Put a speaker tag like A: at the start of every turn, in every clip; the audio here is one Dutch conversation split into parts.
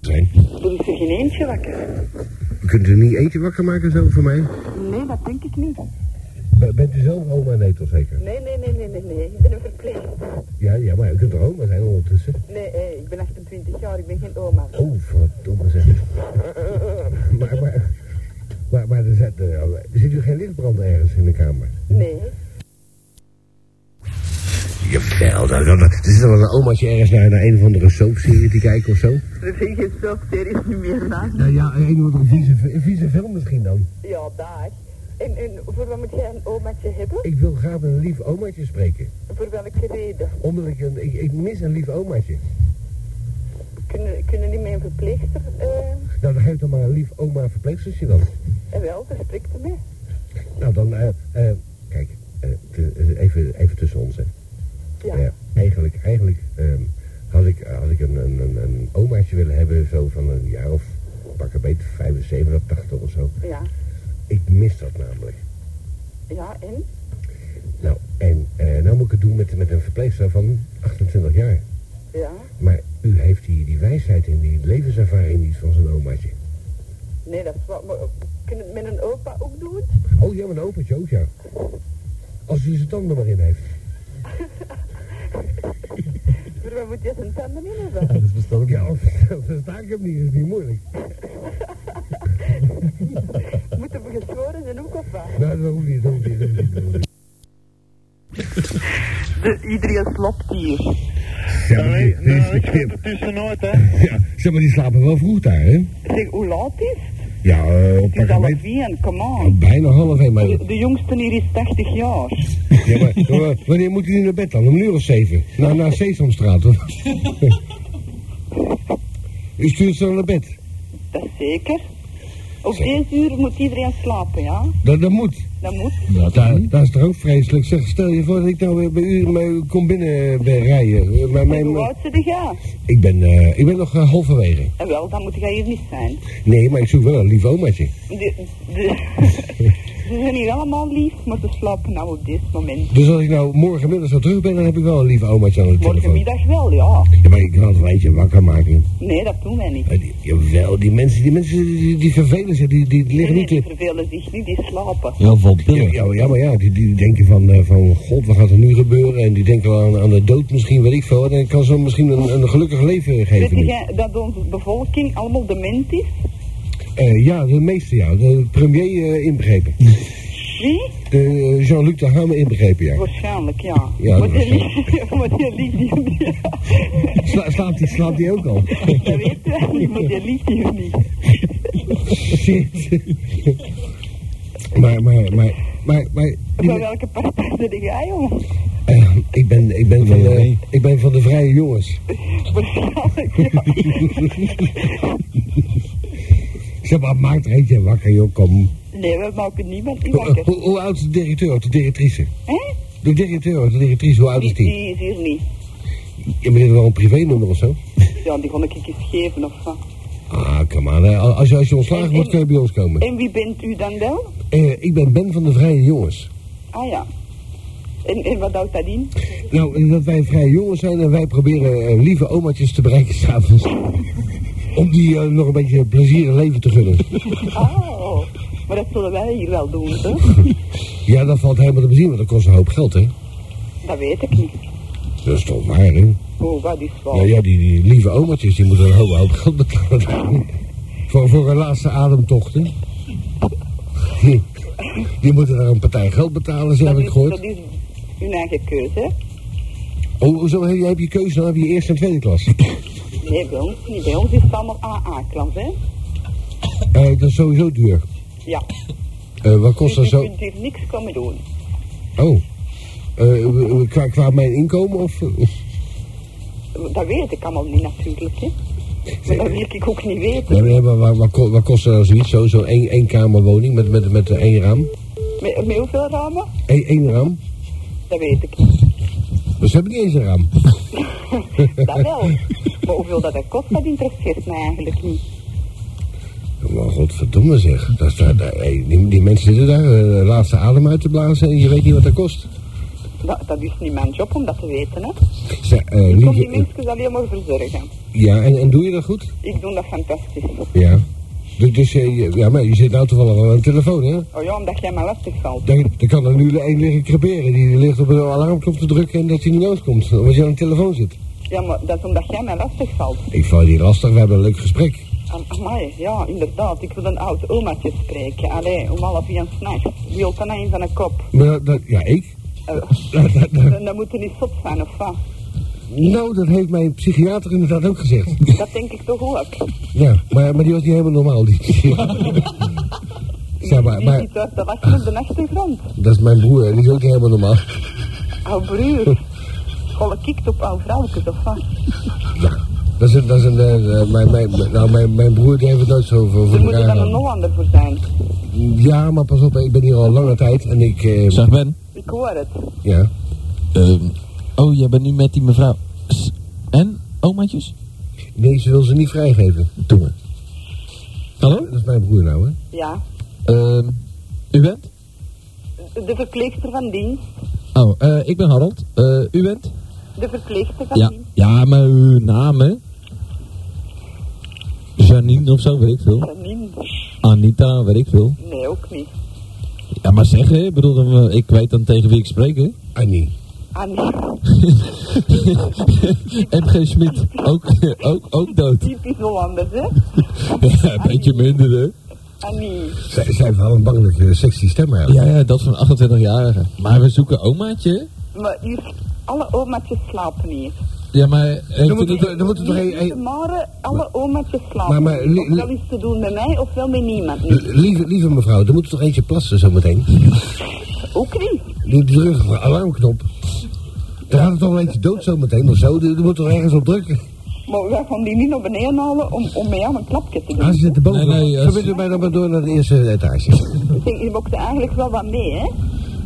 A: zijn.
B: Dan is er geen eentje wakker.
A: Kunt u niet eentje wakker maken zo voor mij?
B: Nee, dat denk ik niet.
A: B- Eh, bent u zelf oma nee toch zeker?
B: Nee, nee, nee, nee, nee, nee. Ik ben een verpleegster.
A: Ja, ja, maar u kunt toch oma zijn ondertussen?
B: Nee, hé, ik ben 28 jaar, ik ben geen oma.
A: Oh, verdomme zeg. maar, maar, maar, maar er zit, eh, zit u geen lichtbrand ergens in de kamer?
B: Nee.
A: Jawel, nou, dan, er zit wel een omaatje ergens naar, naar een of andere soapserie te kijken of zo.
B: Er zijn geen softseries niet meer na.
A: Nou ja, een of andere vieze, vieze film misschien dan.
B: Ja, dag. En, en voor wat moet jij een omaatje hebben?
A: Ik wil graag een lief omaatje spreken.
B: Voor welke reden?
A: Omdat ik, een, ik, ik mis een lief omaatje.
B: Kunnen, kunnen die mijn verpleegster... eh,
A: Nou, dan geef dan maar een lief oma verpleegzusje dan.
B: En wel, daar spreekt ermee.
A: Nou, dan, eh, eh, kijk, eh, te- eh, even, even tussen ons, hè. Eh,
B: Ja.
A: eigenlijk, eigenlijk ehm, had ik, had ik een, een, een, een omaatje willen hebben, zo van een jaar of, pak een beetje 75 of 80 of zo.
B: Ja.
A: Ik mis dat namelijk.
B: Ja, en?
A: Nou, en eh, nou moet ik het doen met, met een verpleegster van 28 jaar.
B: Ja.
A: Maar u heeft die, die wijsheid en die levenservaring niet van zijn omaatje.
B: Nee, dat is wat. Maar eh, kunnen het met een opa ook doen?
A: Oh ja, mijn opentje ook, ja. Als u zijn tanden maar in heeft.
B: Voor wat moet je zijn tanden in hebben?
C: Ja, dat is bestel ook
A: Ja,
C: niet.
A: of versta ik hem niet, is niet moeilijk.
B: Moeten we geschoren zijn ook of wat?
A: Nou, dat hoeft niet, dat hoeft niet, dat hoeft niet, dat hoeft niet.
B: iedereen slaapt hier.
A: Ja, maar die- die-
D: Nou, ik zit er tussenuit, hè.
A: ja, zeg maar, die slapen wel vroeg daar, hè?
B: Zeg, hoe laat is het?
A: Ja, eh, op
B: Het is
A: pak een
B: half
A: beet-
B: één, come
A: oh,
B: on.
A: bijna half één, maar...
B: De, de jongste hier is 80 jaar.
A: Ja, maar eh, wanneer moet u nu naar bed dan? Om een uur of zeven? Na, naar Sesamstraat, hoor. u stuurt ze dan naar bed.
B: Dat is zeker. Op deze uur moet iedereen slapen, ja?
A: Dat, dat moet.
B: Dat moet.
C: Ja,
A: Daar, daar is toch ook vreselijk. Zeg, stel je voor dat ik nou weer bij u maar, kom binnen eh, ben rijden. Eh, Maar
B: En
A: mijn,
B: hoe oud ze de ja?
A: ik, ben, eh, ik ben nog eh, halverwege.
B: En wel, dan moet jij hier niet zijn.
A: Nee, maar ik zoek wel een lief omaatje.
B: De, de, ze zijn hier allemaal lief, maar ze slapen nou op dit moment.
A: Dus als ik nou morgenmiddag zo terug ben, dan heb ik wel een lief omaatje aan de telefoon.
B: Morgenmiddag wel, ja.
A: Ja, maar ik kan het wel eentje wakker maken.
B: Nee, dat doen wij niet.
A: Maar die, jawel, die mensen, die, mensen die, die vervelen zich, die, die liggen
B: Nee,
A: niet
B: die
A: te...
B: vervelen zich niet, die slapen.
C: Ja, vol
A: Ja,
C: pillen.
A: ja, ja, maar ja, die, die denken van, eh, van, god, wat gaat er nu gebeuren? En die denken wel aan, aan de dood misschien, weet ik veel. En ik kan zo misschien een, een gelukkig leven
B: Weet
A: geven. nu.
B: jij dat onze bevolking allemaal dement is?
A: Eh, ja, de meeste, ja. De premier eh, inbegrepen.
B: Wie?
A: De, eh, Jean-Luc de Hamer inbegrepen, ja.
B: Waarschijnlijk, ja.
A: Ja,
B: maar die
A: waarschijnlijk.
B: ligt maar die ligt hier niet.
A: Sla, slaapt, die, slaapt die ook al?
B: Dat weten wij niet, maar die ligt hier niet.
A: Shit. maar, maar, maar, maar, maar... die-
B: Van welke partij zit jij, jong?
A: eh, ik, ben, ik, ben van
C: Ben je
A: de,
C: mee?
A: ik ben van de vrije jongens.
B: Waarschijnlijk, ja.
A: Zeg maar, maak er eentje wakker, joh, kom.
B: Nee, we maken niemand die
A: Hoe,
B: wakker.
A: hoe, hoe oud is de directeur of de directrice?
B: Hè?
A: De directeur of de directrice, hoe oud is
B: Die,
A: die?
B: die is hier niet.
A: Je bent wel een privénummer of zo?
B: Ja, die kon ik eens geven of wat.
A: Ah, come on. hè. Als je, als je ontslagen wordt, kun je bij ons komen.
B: En wie bent u dan wel?
A: Eh, ik ben Ben van de Vrije Jongens.
B: Ah ja. En, en wat houdt dat in?
A: Nou, eh, dat wij vrije jongens zijn en wij proberen eh, lieve omaatjes te bereiken s'avonds. Om die eh, nog een beetje plezier en leven te gunnen.
B: Oh, maar dat zullen wij hier wel doen, hè?
A: Ja, dat valt helemaal te bezien, want dat kost een hoop geld, hè?
B: Dat weet ik niet.
A: Dat is toch waar, hè?
B: Oh, wat is waar?
A: Nou ja, die, die lieve omaatjes, die moeten een hoop, hoop geld betalen. voor, voor hun laatste ademtocht, hè? Die, die moeten daar een partij geld betalen, zo heb
B: dat,
A: ik
B: is,
A: gehoord.
B: dat is hun eigen keuze, hè?
A: Oh, hoezo heb je, heb je keuze? Dan heb je eerste en tweede klas.
B: Nee, bij ons niet. Bij ons is het allemaal AA-klas, hè?
A: Eh, dat is sowieso duur.
B: Ja.
A: Eh, wat kost dat
B: dus
A: zo?
B: je kunt hier niks komen doen.
A: Oh. Eh, qua, qua mijn inkomen of...
B: Dat weet ik allemaal niet natuurlijk, hè? Maar dat wil ik ook niet weten.
A: Nee, maar, maar, maar, ko- wat kost er nou zoiets? Zo'n zo één, één kamerwoning met, met, met eh, één raam?
B: Met, met hoeveel ramen?
A: Eén, één raam?
B: Dat weet ik niet.
A: Dus ze hebben niet eens een raam.
B: Dat wel. Maar hoeveel dat, dat kost, dat interesseert mij eigenlijk niet.
A: Maar godverdomme zeg. Dat is daar, daar- hey, die, die mensen zitten daar eh, de laatste adem uit te blazen en je weet niet wat dat kost.
B: Dat, dat is niet mijn job om dat te weten, hè.
A: Zeg, eh,
B: Ik kom die
A: Lieke,
B: mensen alleen maar verzorgen.
A: ja, en, en doe je dat goed?
B: Ik doe dat fantastisch.
A: Ja. Dus, dus eh, je- ja, maar je zit nou toevallig wel aan de telefoon, hè?
B: Oh ja, omdat jij me lastig valt.
A: Dan, dan kan er nu één liggen creperen. Die ligt op een alarmknop te drukken en dat hij niet uitkomt. Omdat je aan de telefoon zit.
B: Ja, maar dat is omdat jij mij lastig valt.
A: Ik val die lastig, we hebben een leuk gesprek.
B: Am- Amai, ja, inderdaad. Ik wil een oud omaatje spreken. Allee, om half één s'nachts. Wie wil dan een van een kop?
A: Maar dat, ja, ik?
B: Eh,
A: Dat- dat- dat-
B: dan, dan moet je niet zot zijn, of wat?
A: nou, dat heeft mijn psychiater inderdaad ook gezegd.
B: Dat denk ik toch ook.
A: Ja, maar, maar die was niet helemaal normaal. Die, Zeg maar,
B: Die
A: maar
B: zit uit te wachten op de achtergrond.
A: dat is mijn broer, hè, die is ook niet helemaal normaal.
B: Ouw broer. Golle kikt op ouw vrouwtjes, of wat?
A: Ja, dat is een, dat is een eh, eh, mijn, mijn, mijn- nou, mijn, mijn broer die heeft het nooit zo voor, voor
B: Er moet er
A: elkaar
B: dan een
A: gehad.
B: Hollander voor zijn.
A: Ja, maar pas op, ik ben hier al lange tijd en ik, eh,
C: Zeg Ben.
B: Ik hoor het.
A: ja.
C: ehm, oh, jij bent nu met die mevrouw. S- En? Omaatjes?
A: Nee, ze wil ze niet vrijgeven. Doe maar.
C: Hallo?
A: Dat is mijn broer nou, hè.
B: Ja.
C: Ehm, u bent?
B: De verpleegster van dienst.
C: Oh, eh, ik ben Harold. Eh, u bent?
B: De verpleegster van
C: Ja.
B: dienst.
C: Ja, maar uw naam, hè? Janine of zo, weet ik veel.
B: Janine.
C: Anita, weet ik veel.
B: Nee, ook niet.
C: Ja, maar zeg, hè? Ik bedoel, dan, eh, ik weet dan tegen wie ik spreek, hè?
A: Annie.
B: Annie.
C: MG Smit, ook, ook, ook dood.
B: Typisch Hollanders, hè?
C: Ja, een beetje minder, hè?
B: Annie.
A: Zij, zij heeft wel een bangelijke eh, sexy stem, hè.
C: Ja, ja, dat van 28-jarige. Maar we zoeken omaatje, hè?
B: Maar hier, alle omaatjes slapen hier.
C: Ja, maar... heeft
A: Dan moet
C: u
A: het,
C: dat-
A: dan moet het toch
B: Hier
A: een...
B: zitten
A: een-
B: morgen alle omaatjes
A: Maar-
B: slapen.
A: maar li- Dus- li-
B: ofwel is te doen met mij, ofwel met niemand.
A: li- Lieve, lieve mevrouw, er moet er toch eentje plassen zometeen?
B: Ook niet.
A: Doe de druk op de alarmknop. Dan gaat er toch wel eentje dood zometeen of zo. Er er moet toch ergens op drukken.
B: Maar wij gaan die niet naar beneden halen om, om met jou een klapje te doen.
A: Als je zit erboven.
C: Nee, nee, als-
A: Verbind u mij dan maar door naar de eerste etage.
B: Ik denk, je mocht er eigenlijk wel wat mee, hè?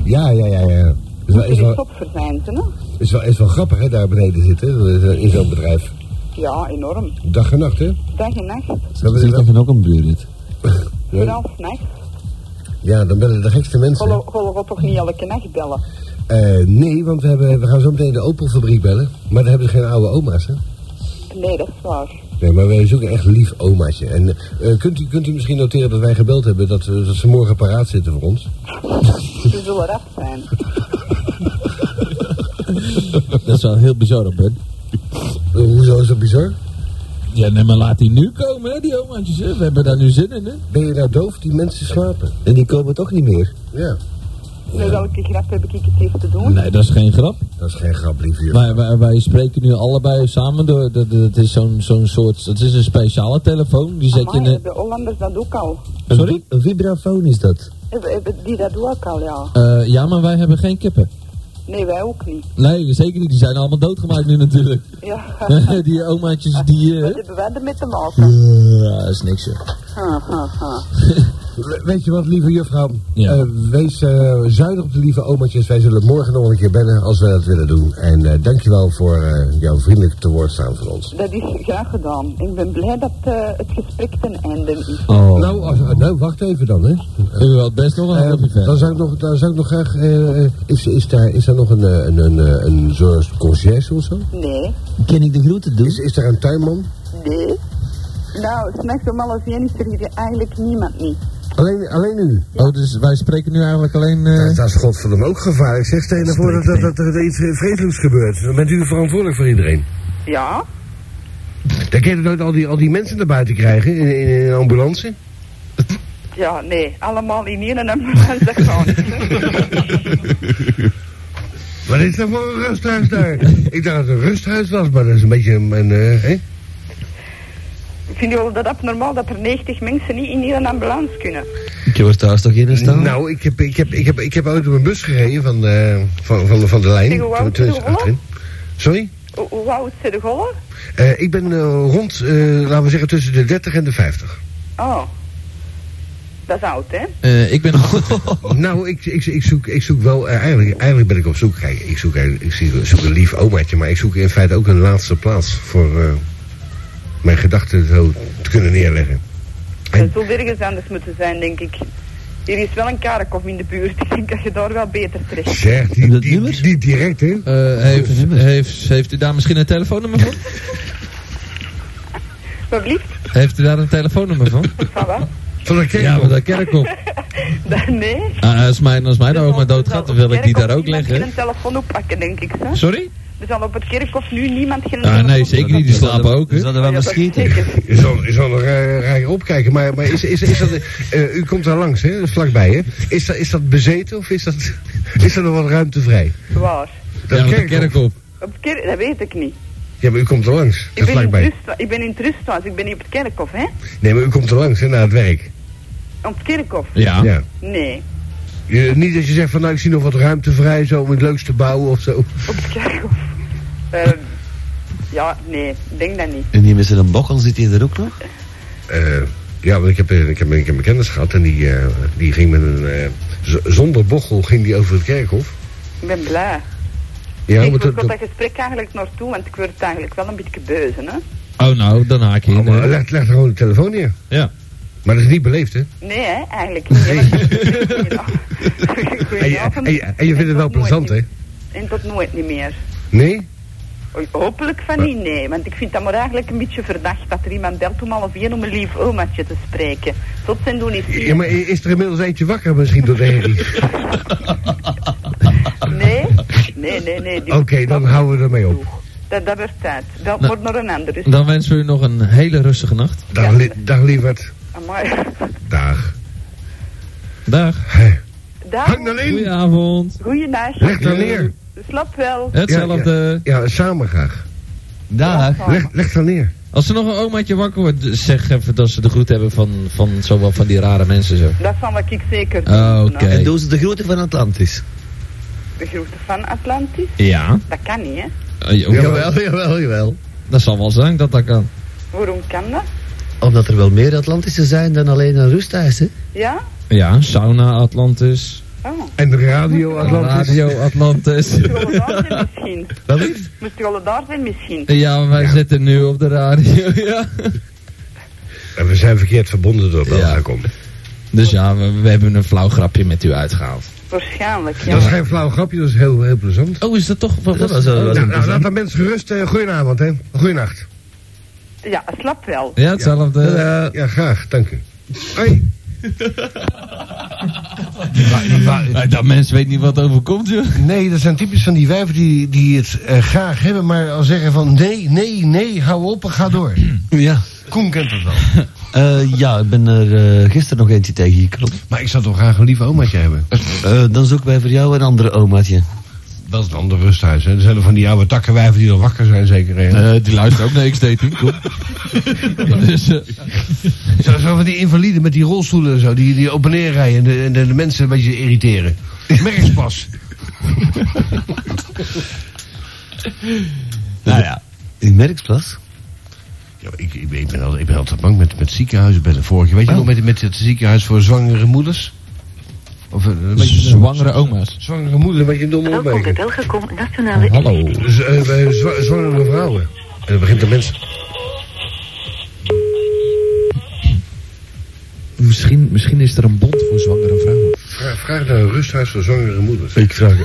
B: Dus
A: Ja, ja, ja, ja. Is wel,
B: Er
A: is
B: is
A: wel,
B: topverzijnten, hè?
A: is wel, is wel grappig, hè, daar beneden zitten. eh, In zo'n bedrijf.
B: Ja, enorm.
A: Dag en nacht, hè?
B: Dag en nacht.
A: Dan
C: Zit
A: willen-
C: even ook een buur dit.
A: Ja,
B: Vooral s'nachts.
A: ja, dan bellen de gekste mensen.
B: Gollen gollen we toch niet elke nacht bellen?
A: Eh, nee, want we, hebben, we gaan zo meteen de Opelfabriek bellen. Maar daar hebben ze geen oude oma's, hè?
B: Nee, dat is waar.
A: Nee, maar wij zoeken echt een lief omaatje. En eh, kunt, u, kunt u misschien noteren dat wij gebeld hebben dat, we- dat ze morgen paraat zitten voor ons?
B: Ze zullen rap zijn.
C: Dat is wel heel bizar op Ben.
A: Eh, hoezo is dat bizar?
C: Ja, nee, maar laat die nu komen, hè, die omaatjes. hè. We hebben daar nu zin in, hè?
A: Ben je nou doof? Die mensen slapen.
E: En die komen toch niet meer?
A: Ja,
B: Met welke grap heb ik het hier te doen?
C: Nee, dat is geen grap.
A: dat is geen grap, lieve juffrouw.
C: Wij, wij, wij spreken nu allebei samen door. Dat, dat is zo'n zo'n soort. Dat is een speciale telefoon. Die zet je in.
B: Amai,
C: een-
B: de Hollanders dat ook al.
E: Een
C: Sorry?
E: vi- Een vibrafoon is dat.
B: Hebben- hebben Die dat ook al, ja.
C: Eh, ja, maar wij hebben geen kippen.
B: Nee, wij ook niet.
C: Nee, zeker niet. Die zijn allemaal doodgemaakt nu natuurlijk.
B: Ja,
C: die omaatjes die. eh,
B: wat hebben wij ermee te maken?
C: ja, dat is niks, joh.
B: Ha, ha, ha.
A: We- Weet je wat, lieve juffrouw?
C: Ja.
A: Eh, wees eh, zuinig op de lieve omaatjes. Wij zullen morgen nog een keer bellen als we dat willen doen. En eh, dankjewel voor eh, jouw vriendelijk te woord staan van ons.
B: Dat is graag gedaan. Ik ben blij dat eh, het gesprek ten einde is.
C: Oh.
A: Nou, als, Oh, ah, nou, wacht even dan, hè.
C: u had best nog een
A: Eh,
C: halve
A: dan, zou ik nog, dan zou ik nog graag... eh, eh, is, is, daar, is daar nog een, eh, een, een, eh, een soort conciërge of zo?
B: Nee,
E: Ken ik de groeten doen?
A: Is, is daar een tuinman?
B: nee. Nou, s'nachts om half één is er hier eigenlijk niemand niet.
A: Alleen, alleen u?
C: Oh, dus wij spreken nu eigenlijk alleen. eh,
A: Dat is godverdomme ook gevaarlijk. Zeg tegen ervoor dat, dat, dat er iets eh, vreselijks gebeurt. Dan bent u verantwoordelijk voor iedereen.
B: Ja?
A: Dan kun je nooit al die, al die mensen naar buiten krijgen in, in, in een ambulance.
B: Ja, nee. Allemaal in één en ambulance, dat kan niet. hè.
A: Wat is dat voor een rusthuis daar? ik dacht dat het een rusthuis was, maar dat is een beetje een... een eh, hè?
B: Vind je wel dat abnormaal dat er 90 mensen niet in één ambulance kunnen?
E: Ik hoor thuis toch in staan?
A: Nou, ik heb, ik, heb, ik, heb, ik heb ooit op een bus gereden van, eh, van, van, de- van de lijn.
B: Tegen hoe oud
A: Tenminste,
B: ben je,
A: achterin. Sorry?
B: Hoe- Hoe oud zijn de gollen?
A: Eh, ik ben eh, rond, eh, laten we zeggen, tussen de 30 en de 50.
B: Oh. Dat is oud, hè?
C: eh, ik ben.
A: Nou, ik, ik, ik, zoek, ik zoek wel... eh, eigenlijk, eigenlijk ben ik op zoek. Kijk, ik zoek, eigenlijk- ik zoek, zoek een lief omaatje, maar ik zoek in feite ook een laatste plaats voor eh, mijn gedachten zo te kunnen neerleggen.
B: Dat zou ergens anders moeten zijn, denk ik. Hier is wel een Karkov in de buurt. Ik denk dat je daar wel beter terecht
A: Zeg, die,
C: Dat
A: die,
C: nummer?
A: die direct, hè?
C: Eh, heeft, heeft, heeft u daar misschien een telefoonnummer van?
B: Wat blieft?
C: Heeft u daar een telefoonnummer van?
B: Van wat?
A: Van de kerk.
C: Ja, maar dat kerkhof.
B: Da- Nee.
C: Ah, als, mijn, als mijn
B: Er
C: oma
B: zal-
C: dood
B: er zal
C: gaat, dan
B: op
C: wil ik
B: het
C: die daar
B: kerkhof
C: ook
B: niemand
C: leggen.
B: geen telefoon oppakken, denk ik. Hè?
C: Sorry?
B: Er zal op het kerkhof nu niemand geen
C: Ah, nee, zeker niet. Die
E: Ze hadden-
C: slapen ook, hè?
E: Ze hadden wel
B: Ja, dat
E: verschieten.
B: zeker.
A: Je zal, je zal er eh, rij opkijken, maar, maar is, is, is dat... eh, u komt daar langs, hè? Vlakbij, hè? Is dat, is dat bezeten of is dat... Is er nog wat ruimte vrij?
B: Waar?
C: Ja, met de kerkhof.
B: Op het kerk, dat weet ik niet.
A: Ja, maar u komt er langs. Dat
B: Ik ben, in het
A: vlakbij.
B: rustwa- ik ben in het rusthuis, ik ben niet op het kerkhof, hè?
A: Nee, maar u komt er langs, hè? Naar het werk.
B: Op het kerkhof?
C: Ja.
A: Ja.
B: Nee.
A: Je- niet dat je zegt van, nou, ik zie nog wat ruimte vrij, zo, om het leukste te bouwen of zo.
B: Op het kerkhof? Ehm, ja, nee, ik denk dat niet.
E: En die met zijn bokkel zit hij er ook nog?
A: Eh, ja, want ik heb, eh, ik, heb, ik heb een kennis gehad en die, eh, die ging met een... eh, z- zonder bochel ging die over het kerkhof.
B: Ik ben blij.
A: Ja,
B: ik
A: maar
B: moet
A: dat...
B: tot
A: dat-
B: dat gesprek eigenlijk naartoe, want ik word het eigenlijk wel een beetje beuzen, hè?
C: Oh, nou, dan haak je
A: Oh,
C: in.
A: maar
C: hè.
A: leg, leg er gewoon de telefoon neer.
C: Ja.
A: Maar dat is niet beleefd, hè?
B: Nee, hè, eigenlijk niet. hè, want ik heb het niet gedaan.
A: En je,
B: Goedenavond.
A: en je, en je vindt het wel
B: tot nooit
A: plezant, hè?
B: niet- En tot nooit niet meer.
A: Nee?
B: Oei, Hopelijk van niet, nee. Want ik vind dat maar eigenlijk een beetje verdacht dat er iemand belt om half één om een lief omaatje te spreken. Tot zijn doen is
A: Ja, maar i- is er inmiddels eentje wakker misschien door de herrie?
B: Nee, nee, nee. nee die-
A: Oké, dan houden we ermee op.
B: Dat, dat wordt tijd. Belt
C: Nou.
B: wordt maar naar een ander. Dus.
C: Dan wensen we u nog een hele rustige nacht.
A: Dag, li dag lieverd.
B: Amai.
A: Dag.
C: Dag.
B: Dag.
A: Hang dan in!
C: Goedenavond.
B: Goeiedag.
A: Leg Eh? dan neer.
B: Slap wel.
C: Hetzelfde.
A: Ja, samen graag.
E: Dag.
A: Leg, leg dan neer.
C: Als er nog een omaatje wakker wordt, zeg even dat ze de groet hebben van, van zowel van die rare mensen zo.
B: Dat zal ik zeker doen.
A: Ah,
C: Oh, oké.
B: Nou,
E: En doen ze de grote van Atlantis.
B: De groeten van Atlantis.
C: Ja.
B: Dat kan niet, hè.
C: Eh,
A: Oh,
C: ja,
E: Jawel, jawel, jawel.
C: Dat zal wel zijn dat dat kan.
B: Waarom kan dat?
E: Omdat er wel meer Atlantische zijn dan alleen een rusthuis, hè?
B: Ja?
C: Ja, sauna Atlantis,
B: Oh.
A: En de radio Atlantis.
C: radio Atlantis.
B: Moet je wel daar zijn misschien?
E: Wel lief.
B: Moet je wel daar zijn misschien?
C: ja, maar wij zitten nu op de radio, ja.
A: En we zijn verkeerd verbonden door Belgacom.
C: Dus ja, we, we hebben een flauw grapje met u uitgehaald.
B: Waarschijnlijk, ja.
A: Dat is geen flauw grapje, dat is heel, heel plezant.
C: Oh, is dat toch? Oh, Wat
E: Dat was wel-
A: Nou, nou, laat de mensen gerust. eh, goedenavond, hè. Goedenacht.
B: Ja, slap wel.
C: Ja, hetzelfde.
A: Eh, ja, graag. Dank u. Hoi.
C: Eh, dat mens weet niet wat overkomt, joh.
A: Nee, dat zijn typisch van die wijven die, die het eh, graag hebben, maar al zeggen van nee, nee, nee, hou op en ga door.
E: Ja.
A: Koen kent dat wel.
E: Eh, ja, ik ben er eh, gisteren nog eentje tegengekomen.
A: Maar ik zou toch graag een lief omaatje hebben.
E: Eh dan zoeken wij voor jou een andere omaatje.
A: Dat is een ander rusthuis. Hè. Er zijn er van die oude takkenwijven die al wakker zijn, zeker. Hè.
C: Eh, die luistert ook naar X-Dating, kom. dus, eh,
A: Zo, zo van die invaliden met die rolstoelen en zo, die, die op en neer rijden en de, en de, de mensen een beetje irriteren. Merkspas.
E: Nou ja. In Merksplas?
A: Ja, maar ik, ik, ben- ik, ben altijd, ik ben altijd bang met, met ziekenhuizen. Ik ben er vorige, weet je nog, met, met het ziekenhuis voor zwangere moeders? Of, eh, een beetje-
C: zwangere oma's.
A: Zwangere moeder, een beetje een domme opmerking.
F: Belgacom Nationale
C: Hallo.
A: Z- eh, bij zwa- zwangere vrouwen. En dan begint de mens.
C: Misschien, misschien is er een bond voor zwangere vrouwen.
A: Vraag, vraag naar een rusthuis voor zwangere moeders.
E: Ik vraag...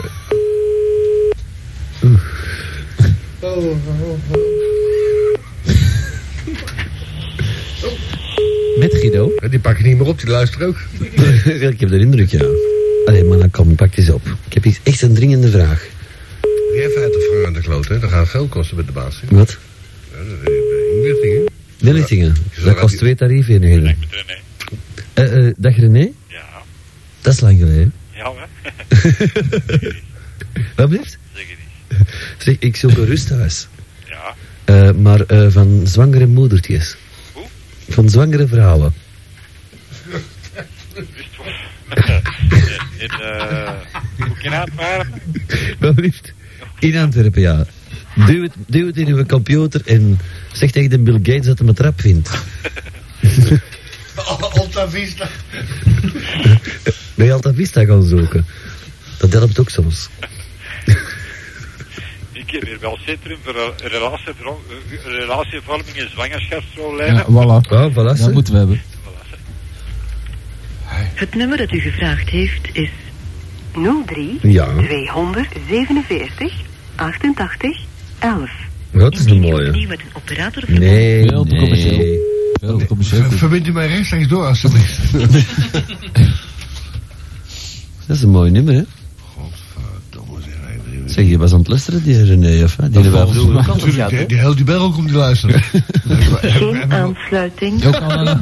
C: Met Guido?
A: Eh, Die pakken niet meer op, die luisteren ook.
E: ik heb de indruk, ja. Allee, maar dan kom, pak eens op. Ik heb iets echt een dringende vraag.
A: Die even uit de vraag aan de kloot, hè. Dan gaan geld kosten met de baas. hè.
E: Wat?
A: Ja, dat is, eh, Inlichtingen.
E: De lichtingen. Dat kost twee tariefeenheden.
D: René.
E: Eh eh dag René?
D: Ja,
E: Dat is lang geleden.
D: ja hè?
E: Wat blijft?
D: Zeker niet.
E: Zeg, ik zoek een rusthuis.
D: Ja,
E: Eh, maar eh, van zwangere moedertjes.
D: Hoe?
E: Van zwangere vrouwen.
D: wist wat. In, eh, hoe kan het maar?
E: Wat blijft? In Antwerpen, ja. Duw het, duw het in uw computer en zeg tegen de Bill Gates dat hij mijn trap vindt.
A: Alta Vista.
E: Ben je Alta Vista gaan zoeken? Dat helpt ook soms.
D: Ik heb hier wel Centrum voor Rel- Relatievro- eh, Relatievorming en Zwangerschapsrollijnen.
C: Ja, voilà.
E: Oh, voilà.
C: Dat
E: ze.
C: moeten we hebben.
D: Voilà, zeg.
F: Het nummer dat u gevraagd heeft is 03
G: Ja.
F: 247 88 11.
G: Dat is een
F: Indien u
G: mooie.
F: opnieuw met een operator verbonden
G: Nee,
H: Heel te commercieel.
G: nee.
H: Heel commercieel.
A: Ver- Verbind u mij rechtstreeks door, alstublieft.
G: Dat is een mooi nummer, hè?
A: Godverdomme, zeg hij.
G: Zeg, je was aan het luisteren, die René, of wat? Die hebben we vroeger ook al
A: Natuurlijk,
G: gehad, hè?
A: die, die huilt die bel ook om te luisteren.
F: Geen aansluiting.
H: Ook al een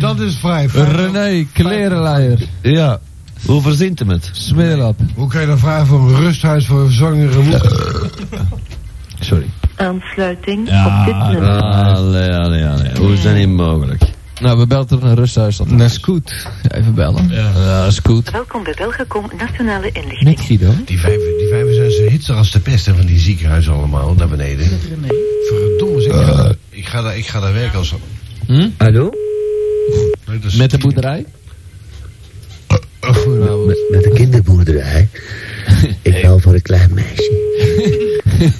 A: Dat is vrij. Vraag-
C: René, klerenleier,
G: Ja. Hoe verzint hem het?
C: smeerlap.
A: Hoe kan je dan vragen voor een rusthuis voor een zwangere moeder?
G: Sorry.
F: Aansluiting
C: Ja,
F: op dit nummer.
E: Ah.
G: Allee, allee, allee. Hoe is dat niet mogelijk?
C: Nou, we belden er een rusthuis. Dat is goed. Even bellen. Ja, is goed.
F: Welkom bij Belgacom Nationale Inlichting.
C: Nick Guido.
A: Die vijven, die vijven zijn ze hitser als de pest hè, van die ziekenhuizen allemaal naar beneden. Verdomme zeg. Ik, ga daar, ik ga daar werken als...
G: Hallo?
A: Nee, dat is-
C: Hm? Met de boerderij?
A: Oh, goedenavond.
E: Met, met een kinderboerderij. Ik bel voor een klein meisje.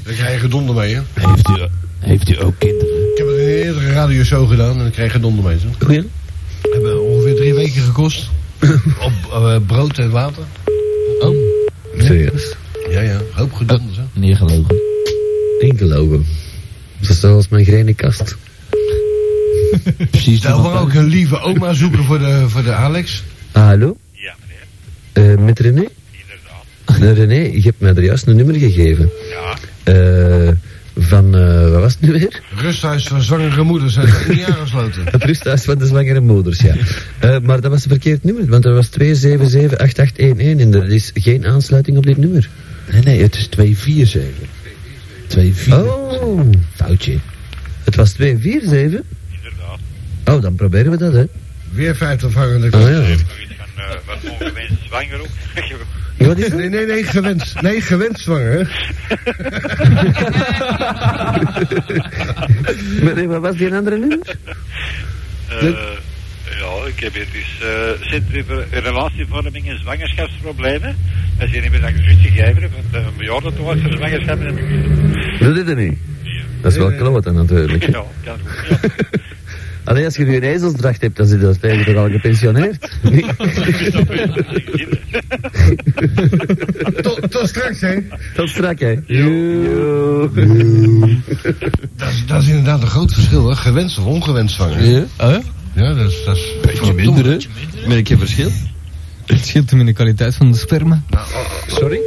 A: Daar krijg je gedonder mee, hè?
C: Heeft u, heeft u ook kinderen?
A: Ik heb het in een eerdere radioshow gedaan en ik kreeg gedonder mee. Zo.
G: Goeie.
A: Hebben ongeveer drie weken gekost. Op eh, brood en water.
C: Oh,
G: Serieus?
A: Ja, ja. Hoop gedonder, hè?
C: neergelogen.
G: Enkel ogen.
E: Dat is zoals mijn grenenkast.
C: Precies.
A: Zou
C: iemand
A: we ook een lieve oma zoeken voor de, voor de Alex?
G: Ah,
E: Hallo?
D: Ja, meneer,
E: Eh, met René?
D: inderdaad.
E: Eh, René, je hebt mij er juist een nummer gegeven.
D: Ja,
E: Eh, van, eh, wat was het nu weer?
A: Rusthuis voor zwangere moeders zijn er niet aangesloten.
E: Het rusthuis van de zwangere moeders, ja. Eh, maar dat was een verkeerd nummer, want er was 2778811 en er is geen aansluiting op dit nummer.
G: Nee, nee, het is 247. 247.
E: Oh,
G: Foutje.
E: het was 247?
D: inderdaad.
E: Oh, dan proberen we dat, hè.
A: Weer 50 hangen.
E: Oh,
D: Ze
E: ja.
D: heeft nog iets van eh, wat ongewenst zwanger ook.
E: Wat is
A: Nee,
E: het?
A: nee, nee, gewenst. Nee, gewend zwanger, hè?
E: Maar, nee, wat was die andere nummer?
D: Eh, ja, ik heb hier dus eh zit over relatievorming en zwangerschapsproblemen. Dat is hier niet meer dat ik zoiets gegeven heb, want eh, een bejaarde toch voor zwangerschap en
E: Doe dit er niet. Dat is wel kloten natuurlijk.
D: Ja, kan ook niet.
E: Alleen als je nu een ezelsdracht hebt, dan zit dat tegen toch al gepensioneerd.
A: Tot, tot straks, hè?
E: Dat is strak, hè?
A: Dat is, dat is inderdaad een groot verschil, hè? Gewenst of ongewenst zwanger.
C: Ja? Oh,
A: Ja, dat is... Dat is
C: ja? minder, hè?
G: Merk je verschil?
C: Het scheelt hem in de kwaliteit van de sperma.
G: Sorry?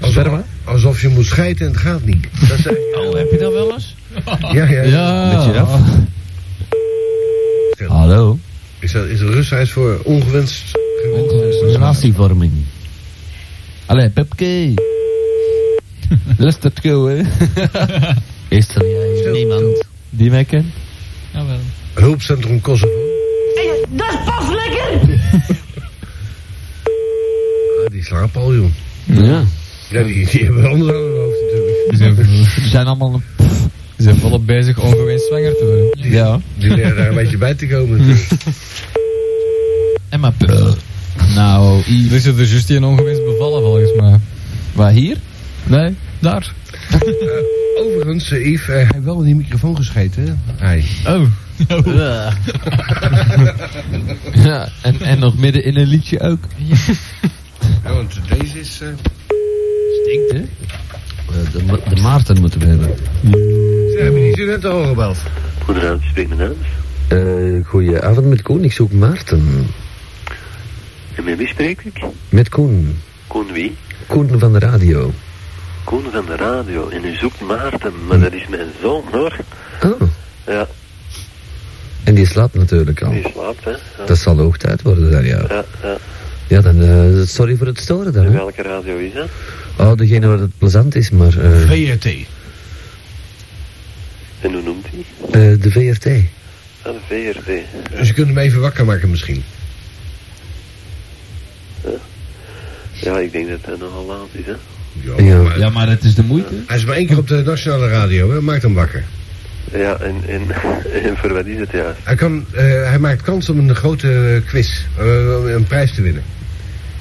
A: alsof, alsof je moet scheiden en het gaat niet. Dat is,
H: Oh, heb je dat wel eens?
A: ja, ja. ja.
G: Beetje af.
E: Ah.
A: Ja.
G: Hallo?
A: Is, dat, is er rusthuis voor ongewenst... gewenst
G: Relatievorming.
C: Allee, Pepke. Luistert go, hè?
G: Is er jij niemand?
C: Die mij kent.
A: Hulpcentrum Kosovo. Dat is pas lekker! Ah, die slapen al, joh.
G: Ja.
A: Ja, die, die hebben anders aan hun hoofd natuurlijk.
C: Die zijn, zijn allemaal... Een... Die zijn volop bezig ongewenst zwanger te worden. Ja.
A: Die leren daar een beetje bij te komen. natuurlijk.
C: En maar... Nou, hier... Er zit er juist een ongewenst bevallen, volgens mij. Waar, hier? Nee, daar.
A: Overigens, eh, Yves, eh, hij heeft wel in die microfoon gescheten, hè? Hij.
C: Oh. ja, en, en nog midden in een liedje ook.
A: Ja, want deze is... eh,
G: Stinkt, hè?
E: Eh,
G: De, Ma- de Maarten moeten we hebben.
A: Ze hebben niet zo net al gebeld.
I: Goedenavond, ik spreek met Hans.
E: Eh goedenavond met Koen, ik zoek Maarten.
I: En met wie spreek ik?
E: Met Koen.
I: Koen wie?
E: Koen van de radio.
I: Koen van de radio. En u zoekt Maarten, maar dat is mijn zoon hoor.
E: Oh,
I: Ja,
E: en die slaapt natuurlijk al.
I: die slaapt hè. Ja,
E: Dat zal hoog tijd worden dan, ja.
I: ja. ja.
E: Ja, dan, eh, sorry voor het storen dan.
I: En
E: hè.
I: welke radio is dat?
E: Oh, degene waar het plezant is, maar... eh,
A: VRT.
I: En hoe noemt hij?
E: eh, de VRT.
I: Ja, de VRT.
A: Dus je kunt hem even wakker maken misschien.
I: Ja, ik denk dat dat nogal laat is hè.
E: Ja.
A: maar-
H: Ja, maar dat is de moeite.
A: Hij is maar één keer op de nationale radio, hè? maakt hem wakker.
I: Ja, en, en, en voor wat is het juist?
A: Hij, kan, eh, hij maakt kans om een grote eh, quiz, eh, een prijs te winnen.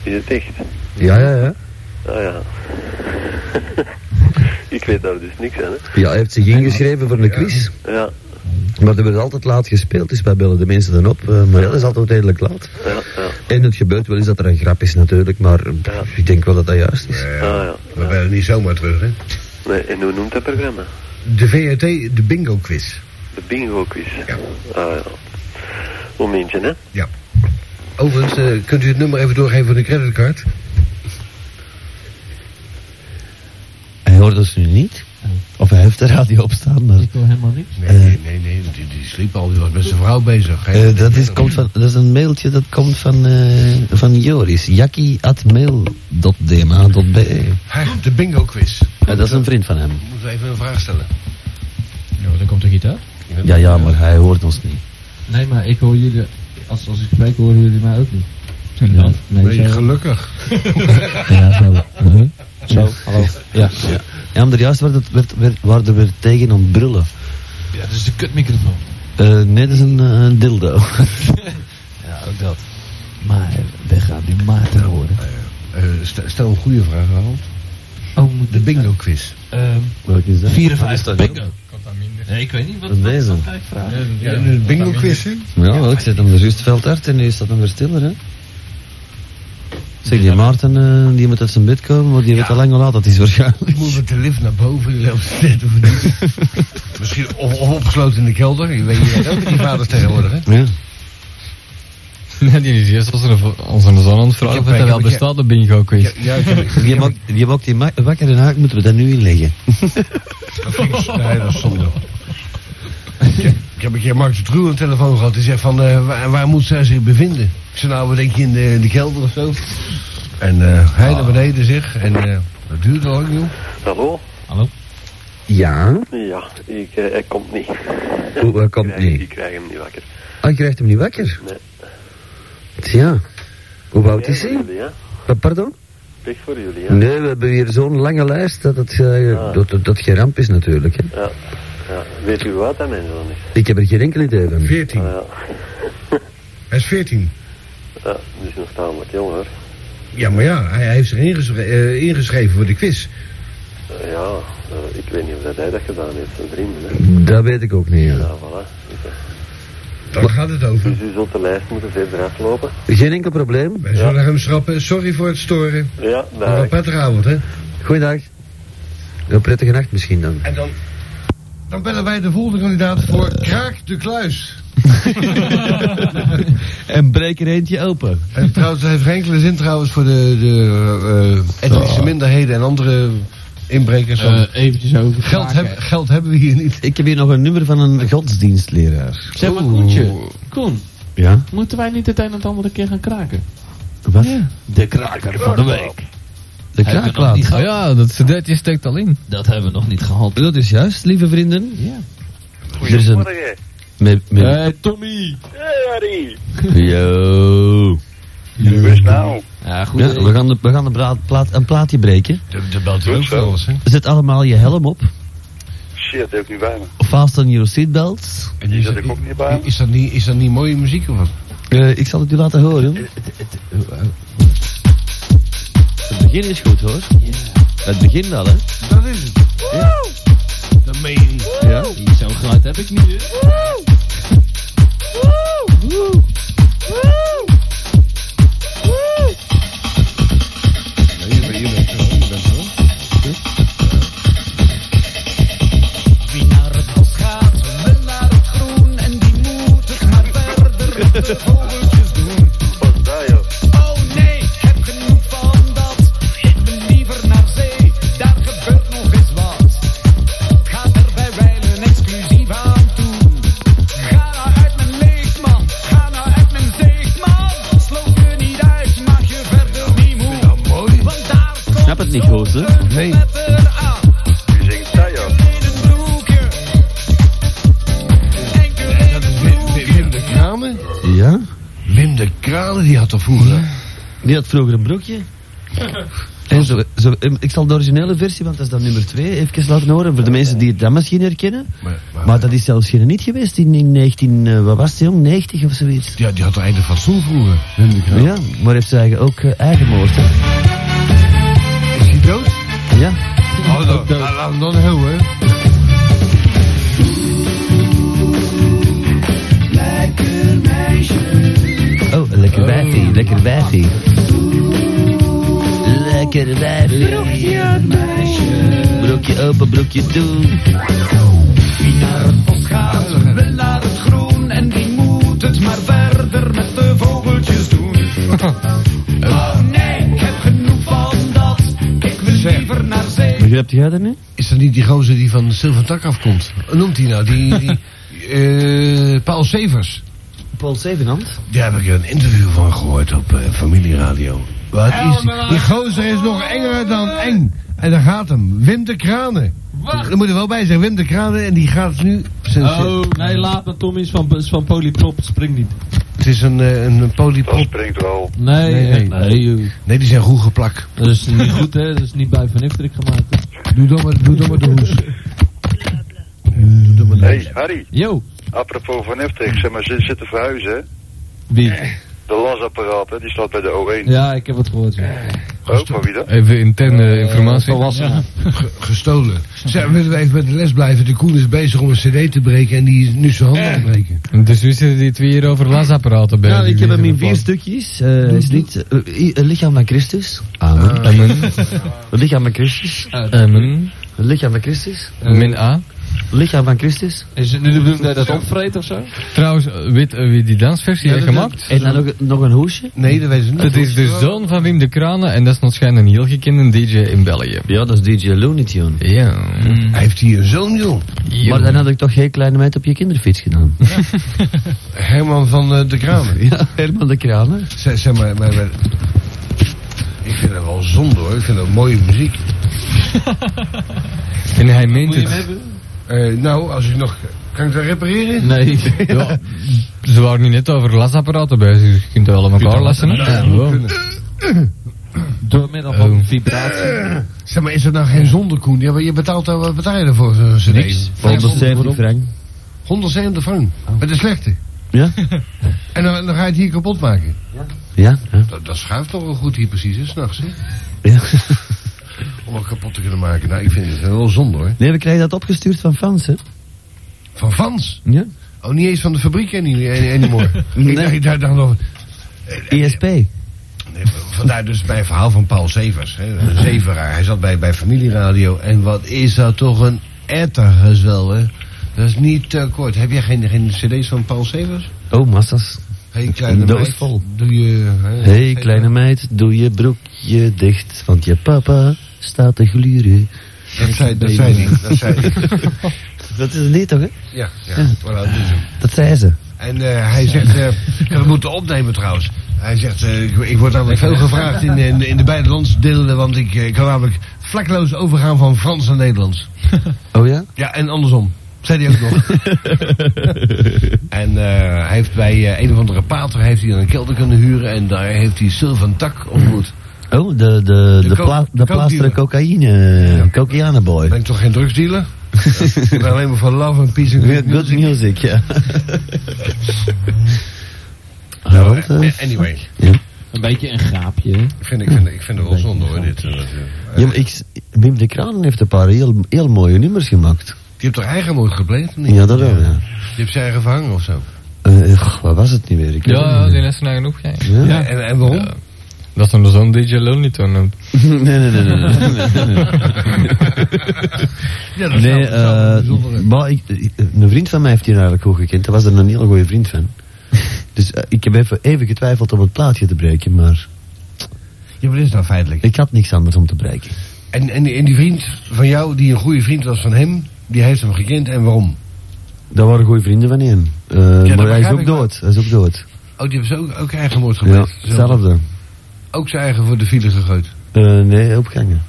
I: Is het echt?
E: Ja, ja, ja.
I: Ah ja. ik weet daar dus niks aan hè.
E: Ja, hij heeft zich ingeschreven voor een quiz.
I: Ja.
E: Maar er wordt altijd laat gespeeld, dus wij bellen de mensen dan op. eh, maar ja, dat is altijd redelijk laat.
I: Ja, ja.
E: En het gebeurt wel eens dat er een grap is natuurlijk, maar eh, pff, ik denk wel dat dat juist is.
I: Ah, ja.
A: Eh, We bellen niet zomaar terug, hè.
I: Nee, en hoe noemt dat programma?
A: De VRT, de bingo quiz.
I: De bingo quiz.
A: Ja.
I: Ah, ja. Momentje, hè?
A: Ja. Overigens, eh, kunt u het nummer even doorgeven van de creditcard?
E: Eh. Hij hoort ons nu niet. Of hij heeft de radio op staan, maar...
C: hoor helemaal niks.
A: Nee, nee, nee, nee, die, die sliep al, die was met zijn vrouw bezig. Geen-
E: Eh, dat, is, komt van, dat is een mailtje dat komt van, eh, van Joris. Jackie.mail.dma.be
A: Ha, de bingo quiz.
E: E. Eh, Dat is een vriend van hem.
A: Moeten we even een vraag stellen?
J: Ja, dan komt de gitaar.
E: Ja, ja, maar hij hoort ons niet.
C: Nee, maar ik hoor jullie, als, als ik spreek horen jullie mij ook niet. Ja, nee,
A: Nee,
C: zo.
A: gelukkig.
C: Ja, zo. Huh? Zo, hallo. Ja.
E: Ja, maar juist werd het, werd, werd, waren er weer tegen aan het brullen.
J: Ja, dat is de kutmicrofoon.
E: Eh, nee, dat is een, eh, een dildo. oh
J: Ja, ook dat.
C: Maar we gaan nu Maarten horen.
A: Eh, st- stel een goede vraag, Harold.
C: Oh, moet
A: De bingo quiz.
C: Ehm,
E: Welke is dat?
C: 54 bingo.
J: Contamine.
C: Nee, ik weet niet wat
E: Dat is deze.
C: wat ga ik vragen.
A: Ja, de bingo quiz, hè?
E: Ja, wel, ik zet hem er juist veld uit en nu staat hem weer stiller, hè. Zeg, die Maarten, eh, die moet uit zijn bed komen, want die weet al lang hoe laat dat is waarschijnlijk.
A: Moet met de lift naar boven, die loopt net of niet. Misschien of, of opgesloten in de kelder, je weet niet ook die vaders tegenwoordig, hè?
E: Ja.
J: Nee, die is eerst als een, als een zon aan het vragen
A: Ik
J: of
A: heb-
J: dat wel
A: ik heb-
J: bestaat, de bingo quiz.
A: Ja, ja, ik heb-
E: Die maakt, die maakt die ma- wakker en haak, moeten we dat nu inleggen?
A: Nee, Dus, eh, dat is zonde. Ik heb een keer Mark de Truw aan de telefoon gehad. Die zegt van, eh, waar, waar moet zij zich bevinden? Ik zei, nou, wat denk je, in de, in de kelder of zo? En eh, hij naar beneden zich. En eh, dat duurde lang, joh.
I: Hallo?
E: Ja.
I: Ja, ik, eh, hij komt niet.
E: Hoe, hij komt
I: Ik krijg-
E: niet?
I: Ik krijg hem niet wakker.
E: Ah, je krijgt hem niet wakker?
I: Nee.
E: Tja. Hoe oud is
I: Pech voor
E: hij?
I: jullie, hè?
E: Eh, Pardon?
I: Pech voor jullie, hè?
E: Nee, we hebben hier zo'n lange lijst dat het eh,
I: Ah.
E: dat, dat, dat geen ramp is natuurlijk. Hè.
I: Ja. ja. Weet u wat dat mijn zoon is?
E: Ik heb er geen enkel idee van.
A: 14.
I: Ah, ja.
A: Hij is 14.
I: ja, dat is nog tamelijk jong, hoor.
A: Ja, maar ja, hij, hij heeft zich ingeschre- eh, ingeschreven voor de quiz.
I: Eh, ja, eh, ik weet niet of dat hij dat gedaan heeft, zijn vrienden, hè?
E: Dat weet ik ook niet. ja.
I: Ja, voilà.
A: Daar gaat het over.
I: Dus u zult de lijst moeten verder aflopen.
E: Geen enkel probleem.
A: Wij zullen hem schrappen. Sorry voor het storen.
I: Ja,
A: Maar
I: daar.
A: een prettige avond, hè?
E: Goeiedag. Een prettige nacht misschien dan.
A: En dan, dan bellen wij de volgende kandidaat voor Kraak de Kluis.
E: En breek er eentje open.
A: En Eh, trouwens, dat heeft geen enkele zin trouwens voor de, de eh, etnische minderheden en andere inbrekers. want
C: Eh, eventjes over.
A: geld, heb- geld hebben we hier niet.
E: Ik heb hier nog een nummer van een godsdienstleraar.
C: Zeg maar, Koentje. Koen,
E: Ja?
C: moeten wij niet het een en het andere keer gaan kraken?
E: Wat?
C: De kraker van de week.
E: De
C: Hebben we nog
E: kraaklaat.
C: niet
J: Oh ja, dat verdeeltje steekt al in.
C: Dat hebben we nog niet gehad.
E: Dat is juist, lieve vrienden.
C: Ja.
E: Er is een... Met, met...
C: Eh,
J: Tommy.
E: Yo.
D: Nou,
C: Ja, goed.
E: Ja, we gaan, de, we gaan de bra- plaat, een plaatje breken.
A: De, de belt
D: Goed
A: ook
D: zo.
A: wel eens, hè?
E: Zet allemaal je helm op.
D: Shit, heb ik niet bij me.
E: Fasten your seatbelts.
A: En is,
D: zat ik ook niet bij.
A: is, dat niet, is dat niet mooie muziek of wat?
E: Eh, ik zal het u laten horen. eh, Het begin is goed hoor. Het begin wel hè.
A: Dat is het. Dat meen je niet.
E: Ja.
C: Zo'n geluid heb ik niet.
A: Nee, je bent- je bent er wel, je bent er wel.
K: Wie naar het bos gaat, wil naar het groen en die moet het maar verder met de vogeltjes doen.
I: Wat daar, joh.
K: Oh nee, ik heb genoeg van dat. Ik ben liever naar zee, daar gebeurt nog eens wat. Ga er bij wijlen exclusief aan toe. Ga nou uit mijn leegman, ga nou uit mijn zeegman. Sloot je niet uit, maak je verder niet moe. Want daar komt
E: Snap het niet goed hè.
A: Nee.
K: letter aan.
I: U zingt dat, joh.
A: Dat is Wim, Wim- Wim de Kranen.
E: Ja.
A: Wim de Kranen, die had toch vroeger...
E: Die had vroeger een broekje. En zo, zo, em, ik zal de originele versie, want dat is dan nummer 2, even laten horen. Voor de mensen die het dan misschien herkennen.
A: Maar, maar-
E: Maar dat is zelfs geen niet geweest in, in 19, eh, wat was het jong? 90 of zoiets.
A: ja, die had toch einde fatsoen vroeger, Wim de Kranen.
E: Ja, maar heeft ze eigenlijk ook eh, eigen moord hè.
A: Is hij dood?
E: Ja.
A: Oh, dan, laat hem dan houden.
E: Oh, Lekker wijfie. Lekker wijfie. Broekje meisje. Broekje open, broekje toe.
K: Wie naar het bos gaat, wil naar het groen. En die moet het maar verder met de vogeltjes doen. Oh nee, ik heb genoeg van dat. Ik wil liever naar zee.
E: Begrijpt jij dat nu?
A: Is dat niet die gozer die van Sylvan Tak afkomt? Hoe noemt hij nou? Die, die eh, Paul Severs.
E: Paul Zevenhand?
A: Daar heb ik een interview van gehoord op eh, familieradio. Wat is die? die gozer is nog enger dan eng. En daar gaat hem. Wim de Kranen.
J: Wacht.
A: Er moet er wel bij zijn. Wim de Kranen en die gaat nu... zijn-
J: Oh, nee, laat maar Tom is van, is van Polyprop, spring niet.
A: Het is een, eh, een
D: Dat
A: polypop.
D: springt wel.
J: Nee,
A: Nee,
J: nee,
A: nee.
J: nee. joh.
A: Nee, die zijn goed geplakt.
J: Dat is niet goed, hè. Dat is niet bij Van Ifterik gemaakt. hè.
A: Doe dan maar, doe dan maar de hoes. Doe dan maar de
D: Hey,
A: hoes.
D: Harry,
J: Yo,
D: apropos van Efteling, zeg maar, ze zitten verhuizen, hè?
J: wie?
E: Eh,
D: De lasapparaat, hè, die staat bij de O1.
J: Ja, ik heb wat gehoord. Ja.
D: Ook van wie dan?
L: Even interne
C: Eh,
L: informatie.
J: Volwassenen.
A: Gestolen. Zeg, willen we even met de les blijven? De Koen is bezig om een cd te breken en die is nu zijn handen aan het breken.
L: Dus nu zitten die twee hier over lasapparaten bij.
E: Nou,
L: die
E: ik heb hem
L: weer
E: in
L: de
E: vier stukjes. Eh, is niet, eh, i- eh, lichaam van Christus. Amen.
L: plan- Amen.
E: Lichaam van Christus.
L: Amen. Eh,
E: Lichaam van Christus.
L: Min A.
E: Lichaam van Christus.
J: Is het nu de bedoeling dat je dat opvreet of zo?
L: Trouwens, weet eh, wie die dansversie
A: Ja,
L: heeft
A: dat-
L: gemaakt?
E: En dan ook nog een hoesje.
A: Nee, dat weten ze niet.
L: Dat is
C: dus
L: de zoon van Wim de Kranen en dat is nog schijnbaar een heel gekende DJ in België.
E: Ja, dat is DJ Looney Tune.
L: Ja.
A: Hij heeft hier een zoon, joh.
E: Maar dan had ik toch geen kleine meid op je kinderfiets gedaan.
A: Herman van eh, de Kramer.
E: Ja, Herman de Kranen.
A: Zeg, zeg maar, maar, maar- Ik vind dat wel zonde hoor. Ik vind dat mooie muziek.
L: En hij meent
J: Moet je hem
L: het.
J: hebben?
A: Eh, nou, als ik nog... Kan ik dat repareren?
J: Nee.
L: Ja, ze waren nu net over lasapparaten bezig. Je kunt wel aan elkaar lassen. hè? Ja.
J: Door middel van
L: Oh.
J: vibratie.
A: Zeg maar, is dat nou geen zonde, Koen? Ja, maar je betaalt daar, wat eh, betaal je daarvoor? zo'n cd?
E: Niks. Oh. 170 frank.
A: 170 frank. Met de slechte.
E: Ja?
A: En dan, dan ga je het hier kapot maken.
E: Ja? Ja.
A: Dat, dat schuift toch wel goed hier precies, hè, s'nachts, hè?
E: ja.
A: Om het kapot te kunnen maken. Nou, ik vind het wel zonde, hoor.
E: Nee, we krijgen dat opgestuurd van fans, hè?
A: Van Vans.
E: Ja.
A: Oh, niet eens van de fabriek any- any- anymore.
E: Nee.
A: Ik dacht, ik dacht dan nog...
E: ESP.
A: Nee, vandaar dus mijn verhaal van Paul Severs. Hè. Een zeveraar. Hij zat bij, bij familieradio. En wat is dat toch een ettergezel, hè? Dat is niet te kort. Heb jij geen, geen cd's van Paul Severs?
E: Oh, massas.
A: Hé, hey, kleine
E: Een doos
A: meid,
E: vol.
A: Doe je... hè,
E: Hé, hey,
A: cd?
E: kleine meid, doe je broekje dicht, want je papa staat te gluren.
A: Dat zei, dat zei hij. Dat zei hij.
E: Dat is het niet, toch, hè?
A: Ja, ja. Voilà, dat is hem.
E: Dat zei ze.
A: En eh, hij zegt, eh, ja, we moeten opnemen trouwens. Hij zegt, eh, ik, ik word namelijk veel gevraagd in, in, in de beide landsdelen, want ik eh, kan namelijk vlekloos overgaan van Frans naar Nederlands.
E: Oh ja?
A: Ja, en andersom. Zei hij ook nog. en eh, hij heeft bij eh, een of andere pater heeft hij een kelder kunnen huren en daar heeft hij Sylvan Tak ontmoet.
E: Oh, de, de, de,
A: De co-
E: pla- de
A: coke
E: plaster
A: dealer.
E: cocaïne. Cocaïneboy.
A: Ben ik toch geen drugsdealer? Ja, ik ben alleen maar voor love and peace and
E: Good, good music, ja.
A: Nou, eh, Anyway,
J: Een beetje een gaapje. hè.
A: ik vind, ik vind, ik vind het wel zonde hoor dit. eh, dat, eh,
E: ja maar ik, Wim de Kranen heeft een paar heel, heel mooie nummers gemaakt.
A: Die hebt toch eigen moord gebleven? of niet?
E: Ja, dat ook, ja.
A: Die hebt zijn eigen verhangen of zo.
E: Eh, goh, wat was het niet meer? Ik weet het
L: Ja,
E: niet
L: die
E: meer.
L: is er nou genoeg. Ja.
E: Ja?
A: En, en waarom?
L: Ja. Dat is hem de zoon DJ Lonely Tone noemt.
E: nee, nee, nee, nee. nee, nee,
A: Ja,
E: nee.
A: dat is
E: Nee,
A: wel- dat is wel
E: eh,
A: bijzonder.
E: maar ik, ik- een vriend van mij heeft hier eigenlijk goed gekend. Hij was er een hele goede vriend van. Dus eh, ik heb even, even getwijfeld om het plaatje te breken, maar
A: Ja, maar dat is nou feitelijk.
E: ik had niks anders om te breken.
A: En, en, die- en die vriend van jou, die een goede vriend was van hem, die heeft hem gekend en waarom?
E: Dat waren goede vrienden van hem. Eh,
A: dat
E: maar hij is
A: begrijp
E: ook
A: ik wel.
E: dood. Hij is ook dood.
A: Oh, die hebben ze ook, ook eigen moord
E: Ja,
A: gepleegd. Zelf.
E: hetzelfde.
A: Ook zijn eigen voor de file gegooid.
E: Eh, nee, opgangen.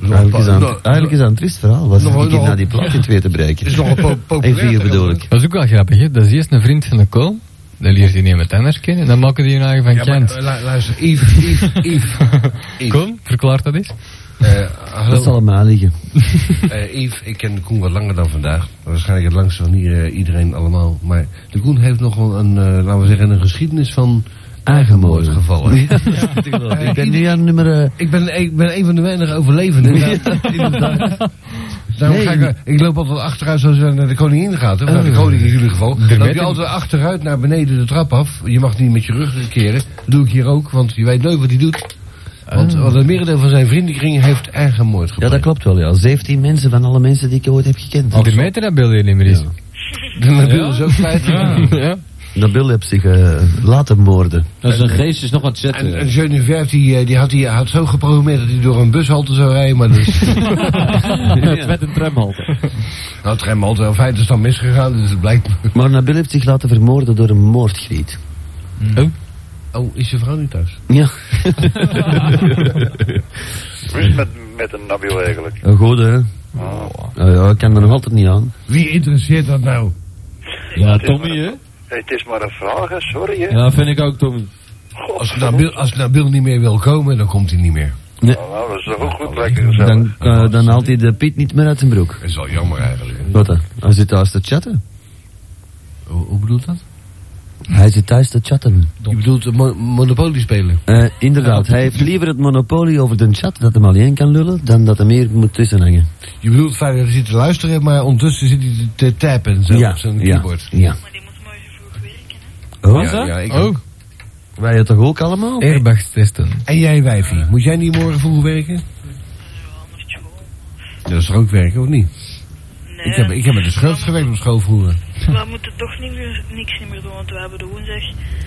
A: Dat
E: Eigenlijk is, aan,
A: nog-
E: eigenlijk is dat een triest verhaal. Was
A: nog-
E: ik
A: nog-
E: naar die plaat in twee te breken.
A: is nog een po-
E: En
A: populair.
E: vier bedoel
A: tegenwoordig.
E: ik.
L: Dat is ook wel grappig, hè? Dat is eerst een vriend van de kool. Dan leert hij iemand anders kennen. en Dan maken die een eigen van
A: Ja, maar,
L: Kent.
A: eh, lu- luister, Yves, Yves, Yves. Yves.
L: Kom, verklaar dat eens.
A: Eh,
E: Dat zal
A: hallo,
E: hem aanliggen.
A: Eh, Yves, ik ken de Koen wat langer dan vandaag. Waarschijnlijk het langste van hier eh, iedereen allemaal. Maar de Koen heeft nog wel een, eh, laten we zeggen, een geschiedenis van Aangemoord gevallen.
E: Ik ben nu aan nummer... eh,
A: ik, ben, ik ben een van de weinige overlevenden. inderdaad. Inderdaad. Daarom ga ik, eh, ik loop altijd achteruit zoals je naar de koningin gaat. Of naar de
L: Oh.
A: koning in jullie geval.
L: De
A: Dan loop je
L: wetten-
A: altijd achteruit naar beneden de trap af. Je mag niet met je rug keren. Dat doe ik hier ook, want je weet nooit wat hij doet. Want, want het merendeel van zijn vriendenkring heeft eigen moord
E: Ja, dat klopt wel, ja. 17 mensen van alle mensen die ik ooit heb gekend.
L: Die de meter dat beeld hier niet meer is.
A: De Nabil is ook feitelijk.
L: Ja.
E: Nabil heeft zich eh, laten moorden.
C: Dat is een geest, is nog wat zetten.
A: En, en Geneviève die, eh, die, had, die had zo geprogrammeerd dat hij door een bushalte zou rijden, maar dat is...
C: Het werd een tramhalte.
A: nou, het remhalte, in feite is dan misgegaan, dus het blijkt...
E: Maar Nabil heeft zich laten vermoorden door een moordgriet.
L: Oh.
A: Oh, is je vrouw niet thuis?
E: Ja.
D: Hoe is het met, met een Nabil eigenlijk?
E: Een goede, hè? Ja, ja, ik kan er nog altijd niet aan.
A: Wie interesseert dat nou?
C: Ja, Tommy, hè?
D: Het is maar een vraag, hè, sorry. Hè.
C: Ja, vind ik ook, Tommy.
A: Als Nabil, als Nabil niet meer wil komen, dan komt hij niet meer.
D: Nou, dat is toch ook goed, lekker gezellig.
E: Dan, eh, dan haalt hij de Piet niet meer uit zijn broek.
A: Dat is wel jammer eigenlijk. hè.
E: Wat dan? Hij zit thuis te chatten.
A: Hoe, hoe bedoelt dat?
E: Hij zit thuis te chatten.
A: Je bedoelt eh, mo- Monopoly spelen?
E: Eh, inderdaad, hij heeft liever het monopolie over de chat dat hem alleen kan lullen, dan dat hem hier moet tussenhangen.
A: Je bedoelt vaak dat hij zit te luisteren, maar ondertussen zit hij te- te tappen zo op zijn
E: ja,
A: keyboard.
E: ja.
A: Oh, ja, ja, ik ook.
E: Wij het toch ook allemaal?
L: Airbags testen.
A: En jij wijfie, moet jij niet morgen vroeg werken? Dat is toch ook werken, of niet?
M: Nee,
A: Ik heb, ik heb met de schurft gewerkt op school vroeger.
M: we moeten toch niet meer, niks niet meer doen, want we hebben de woensdag